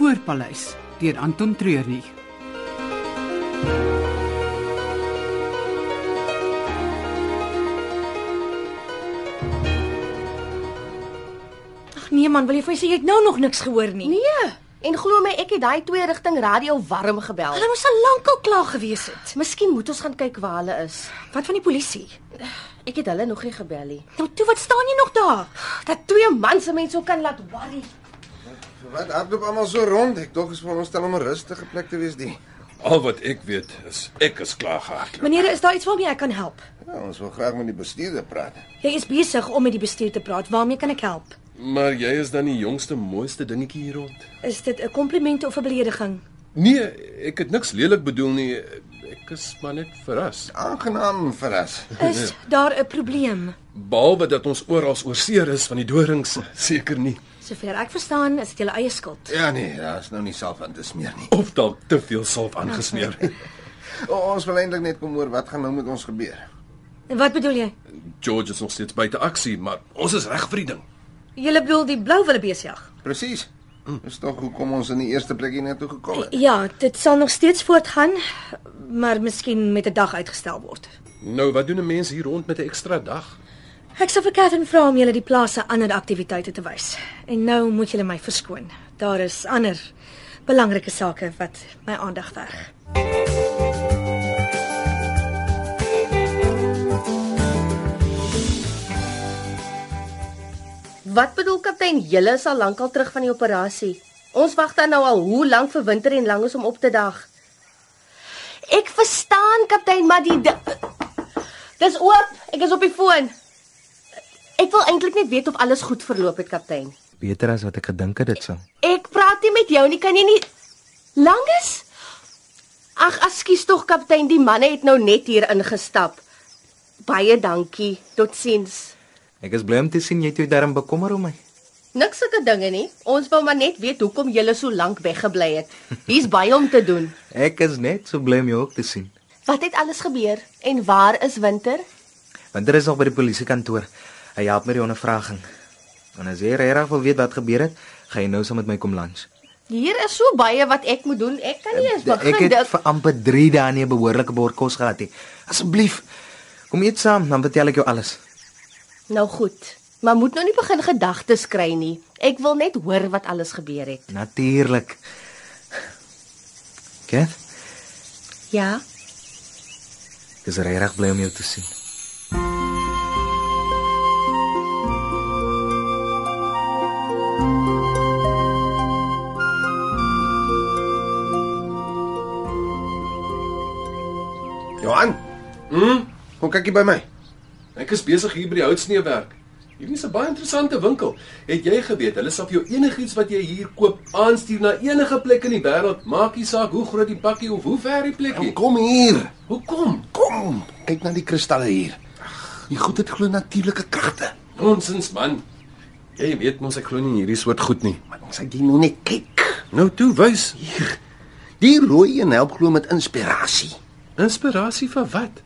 Voorpaleis deur Anton Treurnig. Ag nee man, wil jy vir my sê jy het nou nog niks gehoor nie? Nee. En glo my, ek het daai twee rigting radio warm gebel. Hulle moes al lank al klaar gewees het. Miskien moet ons gaan kyk waar hulle is. Wat van die polisie? Ek het hulle nog nie gebel nie. Nou toe, wat staan jy nog daar? Dat twee mans se mense ook kan laat worry. Wat hardloop almal so rond? Ek dog is veronderstel om 'n rustige plek te wees die. Al wat ek weet is ek is klaar gehardloop. Meneer, is daar iets waarmee ek kan help? Ja, ons wil graag met die bestuurder praat. Jy is besig om met die bestuur te praat. Waarmee kan ek help? Maar jy is dan die jongste mooiste dingetjie hier rond. Is dit 'n kompliment of 'n belediging? Nee, ek het niks lelik bedoel nie. Ek is maar net verras. Aangenaam verras. Is daar 'n probleem? Behalwe dat ons oral oorseer is van die dorings, seker nie. Sover ek verstaan, is dit julle eie skuld. Ja nee, daar's nou nie self aan te smeer nie. Of dalk te veel salf aangesmeer. O, ons wil eintlik net kom hoor wat gaan nou met ons gebeur. En wat bedoel jy? George is nog steeds buite aksie, maar ons is reg vir die ding. Julle bedoel die blou wille besig? Presies. Dis tog hoekom ons in die eerste plek hiernatoe gekom het. Ja, dit sal nog steeds voortgaan, maar miskien met 'n dag uitgestel word. Nou, wat doen 'n mens hier rond met 'n ekstra dag? Ek sal vir Katherine vra om julle die plaas se ander aktiwiteite te wys. En nou moet julle my verskoon. Daar is ander belangrike sake wat my aandag verg. Wat bedoel kaptein? Julle is al lank al terug van die operasie. Ons wag dan nou al hoe lank vir winter en lank is om op te dag. Ek verstaan kaptein, maar die di- Dis oop. Ek is op die foon. Ek wil eintlik net weet of alles goed verloop het kaptein. Beter as wat ek gedink het dit sou. Ek praat nie met jou nie, kan jy nie Langes? Ag, ekskuus tog kaptein, die manne het nou net hier ingestap. Baie dankie. Totsiens. Ek is bly om te sien jy het jou darm bekommer om my. Niks sulke dinge nie. Ons wou maar net weet hoekom jy so lank weggebly het. Hier's baie om te doen. Ek is net so bly om jou ook te sien. Wat het alles gebeur en waar is Winter? Want daar is nog by die polisiekantoor. Hy help met die ondervraging. En as jy regtig wil weet wat gebeur het, gaan jy nou saam met my kom lunch. Hier is so baie wat ek moet doen. Ek kan nie eens begin Ehm, ek het dink- vir amper 3 dae nie 'n behoorlike bord kos gehad nie. Asseblief, kom eet saam, dan vertel ek jou alles. Nou goed. Maar moet nou nie begin gedagtes kry nie. Ek wil net hoor wat alles gebeur het. Natuurlik. Kat, Ja. ek is regtig bly om jou te sien. Johan, Hm? kom kyk hier by my. Ek is besig hier by die houtsneewerk. Hierdie is 'n baie interessante winkel. Het jy geweet hulle sal vir jou enigiets wat jy hier koop aanstuur na enige plek in die wêreld, maak nie saak hoe groot die pakkie of hoe ver die Kom, plekkie. kom hier. Hoekom? Kom. Kyk na die kristalle hier. Die goed het glo natuurlike kragte. Nonsens man. Jy weet mos ek glo nie in hierdie soort goed nie. Maar ons sê jy nou net kyk. Nou toe wys. Die rooi een help glo met inspirasie. Inspirasie vir wat?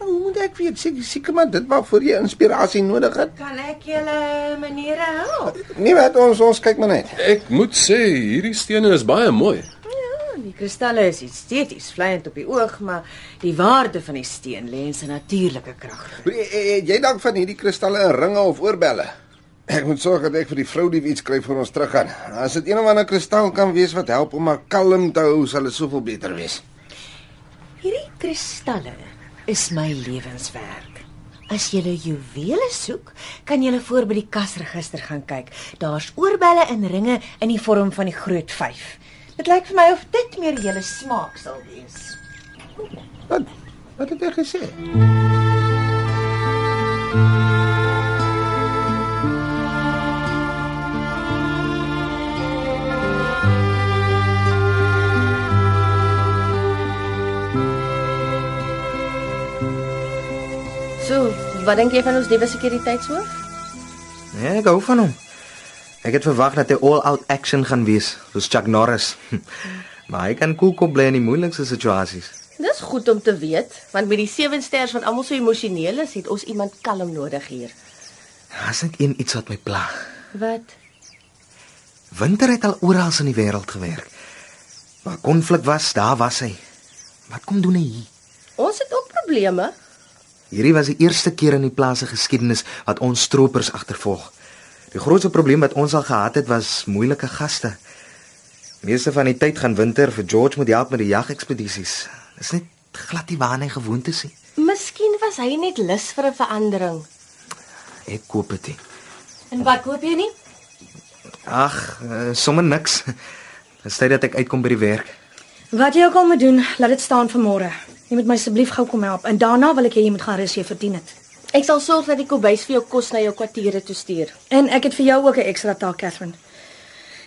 Nou, Hoe moet ek weet seker seker maar dit waarvoor jy inspirasie nodig het? Kan ek julle meneer help? Nie wat ons ons kyk maar net. Ek moet sê hierdie stene is baie mooi. Ja, Die kristalle is esteties vleiend op die oog, maar die waarde van die steen lê in sy natuurlike krag. Broer, eh, eh, Jy dalk van hierdie kristalle in ringe of oorbelle. Ek moet sorg dat ek vir die vrou die iets kry vir ons teruggaan. As dit een of ander kristal kan wees wat help om haar kalm te hou, sal dit soveel beter wees. Hierdie kristalle is my lewenswerk. As jy juwele soek, kan jy voor by die kasregister gaan kyk. Daar's oorbelle en ringe in die vorm van die groot 5. Dit lyk vir my of dit meer julle smaak sal wees. Wat wat het jy gesê? So, wat dink jy van ons nuwe sekuriteitshoof? Nee, ek hou van hom. Ek het verwag dat hy all-out action gaan wees, soos Chuck Norris. maar hy kan cool kop bly in die moeilikste situasies. Dis goed om te weet, want met die sewe sterre van almal so emosioneel is, het ons iemand kalm nodig hier. Daar's net een iets wat my pla. Wat? Winter het al oral in die wêreld gewerk. Waar konflik was, daar was hy. Wat kom doen hy hier? Ons het ook probleme. Hierdie was die eerste keer in die plaas se geskiedenis wat ons stroopers agtervolg. Die grootste probleem wat ons al gehad het was moeilike gaste. Meeste van die tyd gaan winter vir George moet help met die jagekspedisies. Dis net glad nie waar hy gewoond is nie. Miskien was hy net lus vir 'n verandering. Ek koop dit. nie. En wat koop jy nie? Ag, uh, sommer niks. Dis tyd dat ek uitkom by die werk. Wat jy ook al moet doen, laat dit staan vir môre. Jy moet my asseblief gou kom help en daarna wil ek hê jy moet gaan rus, jy verdien dit. Ek sal sorg dat die kombuis vir jou kos na jou kwartiere toe stuur. En ek het vir jou ook 'n ekstra taak, Catherine.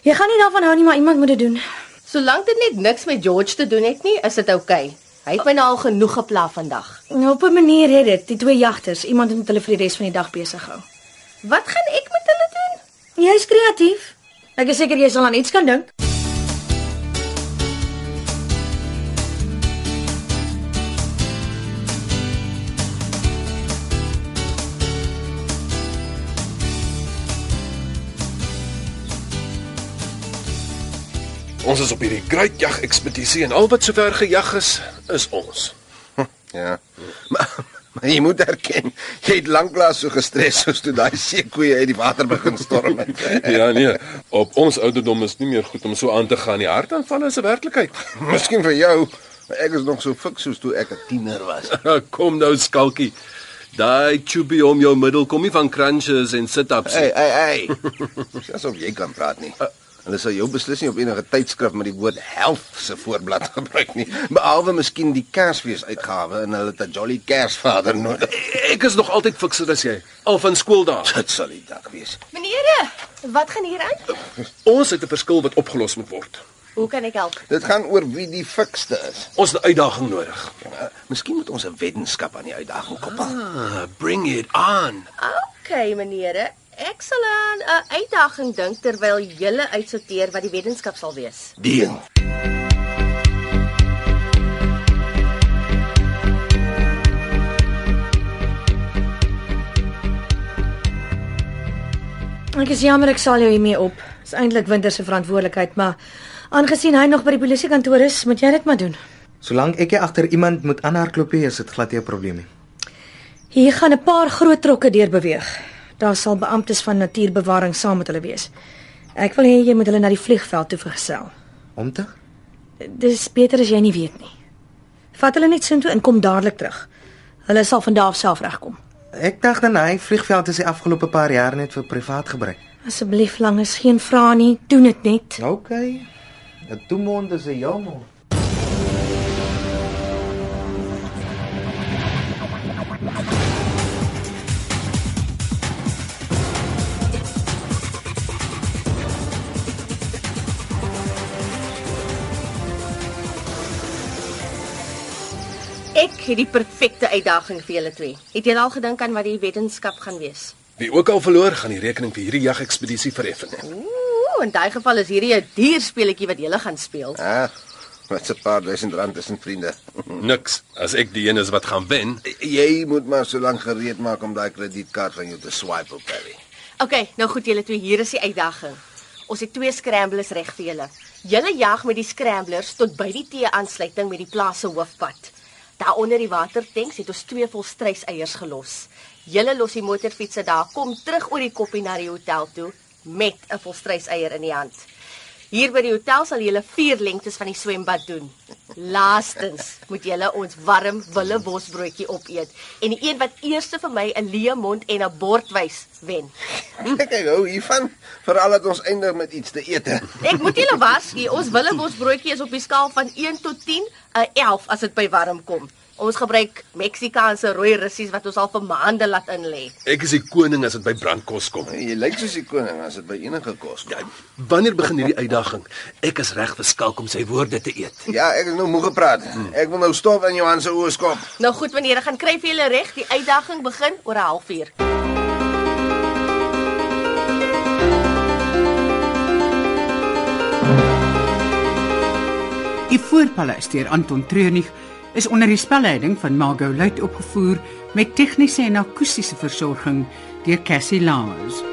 Jy gaan nie daarvan hou nie, maar iemand moet dit doen. Solank dit net niks met George te doen het nie, is dit oukei. Okay. Hy het my nou al genoeg gepla vandag. Nou op 'n manier red dit die twee jagters. Iemand moet hulle vir die res van die dag besig hou. Wat gaan ek met hulle doen? Jy's kreatief. Ek is seker jy sal aan iets kan dink. Ons is op hierdie Great Jag ekspedisie en al wat sover gejag is, is ons. Ja. Maar, maar jy moet erken, jy het lanklaas so gestres soos toe daai seekoeie uit die water begin storm het. Ja nee, op ons ouderdom is nie meer goed om so aan te gaan nie. Hartaanvalle is 'n werklikheid. Miskien vir jou, maar ek is nog so fik soos toe ek 'n tiener was. Kom nou skalkie. Daai chubby om jou middel kom nie van crunches en sit-ups. Hey, hey, hey. Dis asof jy kan praat nie. Hulle sal jou beslis nie op enige tydskrif met die woord help se voorblad gebruik nie, behalwe miskien die Kersfees uitgawe en hulle het 'n jolly Kersvader nodig. Ek is nog altyd fikser as jy, al van skool daar. Dit sal die dag wees. Meneere, wat gaan hier aan? Ons het 'n verskil wat opgelos moet word. Hoe kan ek help? Dit gaan oor wie die fikste is. Ons het 'n uitdaging nodig. Uh, miskien moet ons 'n weddenskap aan die uitdaging koppel. Ah, bring it on. Okay, meneere, ek sal aan 'n uitdaging dink terwyl julle uitsorteer wat die wetenskap sal wees. Deel. Ek is jammer ek sal jou hiermee op. Dis eintlik Winter se verantwoordelikheid, maar aangesien hy nog by die polisiekantoor is, moet jy dit maar doen. Solank ek nie agter iemand moet aanhardloop nie, is dit glad nie 'n probleem nie. Hier gaan 'n paar groot trokke deur beweeg. Daar sal beamptes van natuurbewaring saam met hulle wees. Ek wil hê jy moet hulle na die vliegveld toe vergesel. Om te? Dis beter as jy nie weet nie. Vat hulle net soontoe en kom dadelik terug. Hulle sal vandag self regkom. Ek dink dan hy vliegveld is die afgelope paar jaar net vir privaat gebruik. Asseblief, lang is geen vrae nie. Doen dit net. OK. 'n Toemond is 'n jamond. Ek het die perfekte uitdaging vir julle twee. Het julle al gedink aan wat die wetenskap gaan wees? Wie ook al verloor, gaan die rekening vir hierdie jag ekspedisie vereffen. Ooh, in daai geval is hierdie 'n duur speletjie wat julle gaan speel. Ag, wat 'n paar duisend rand tussen vriende. Niks as ek die een is wat gaan wen. Jy moet maar so lank gereed maak om daai kredietkaart van jou te swipe op Perry. Okay, nou goed julle twee, hier is die uitdaging. Ons het twee scramblers reg vir julle. Julle jag met die scramblers tot by die T-aansluiting met die plaas se hoofpad. Daaronder die watertanks het ons twee volstruiseiers gelos. Julle los die motorfietsse daar, kom terug oor die koppie na die hotel toe met 'n volstruiseier in die hand. Hier by die hotel sal julle vier lengtes van die swembad doen. Laastens moet julle ons warm willebosbroodjie opeet en die een wat eerste vir my 'n leë mond en 'n bord wys wen. Kyk, hou hiervan, veral dat ons eindig met iets te eet. Ek moet julle waarsku, ons willebosbroodjie is op die skaal van 1 tot 10, 'n 11 as dit by warm kom. Ons gebruik Meksikaanse rooi russies wat ons al vir maande laat inlê. Ek is die koning as dit by brandkos kom. Jy lyk soos die koning as dit by enige kos kom. Ja. Wanneer begin hierdie uitdaging? Ek is reg vir skalk om sy woorde te eet. Ja, ek is nou moeg gepraat. Ek wil nou stof in Johan se oë skop. Nou goed, meneere, gaan kry vir julle reg, die uitdaging begin oor 'n halfuur. Die voorpalas deur Anton Treurnig is onder die spelleiding van Margot Luit opgevoer met tegniese en akoestiese versorging deur Cassie Lawrence.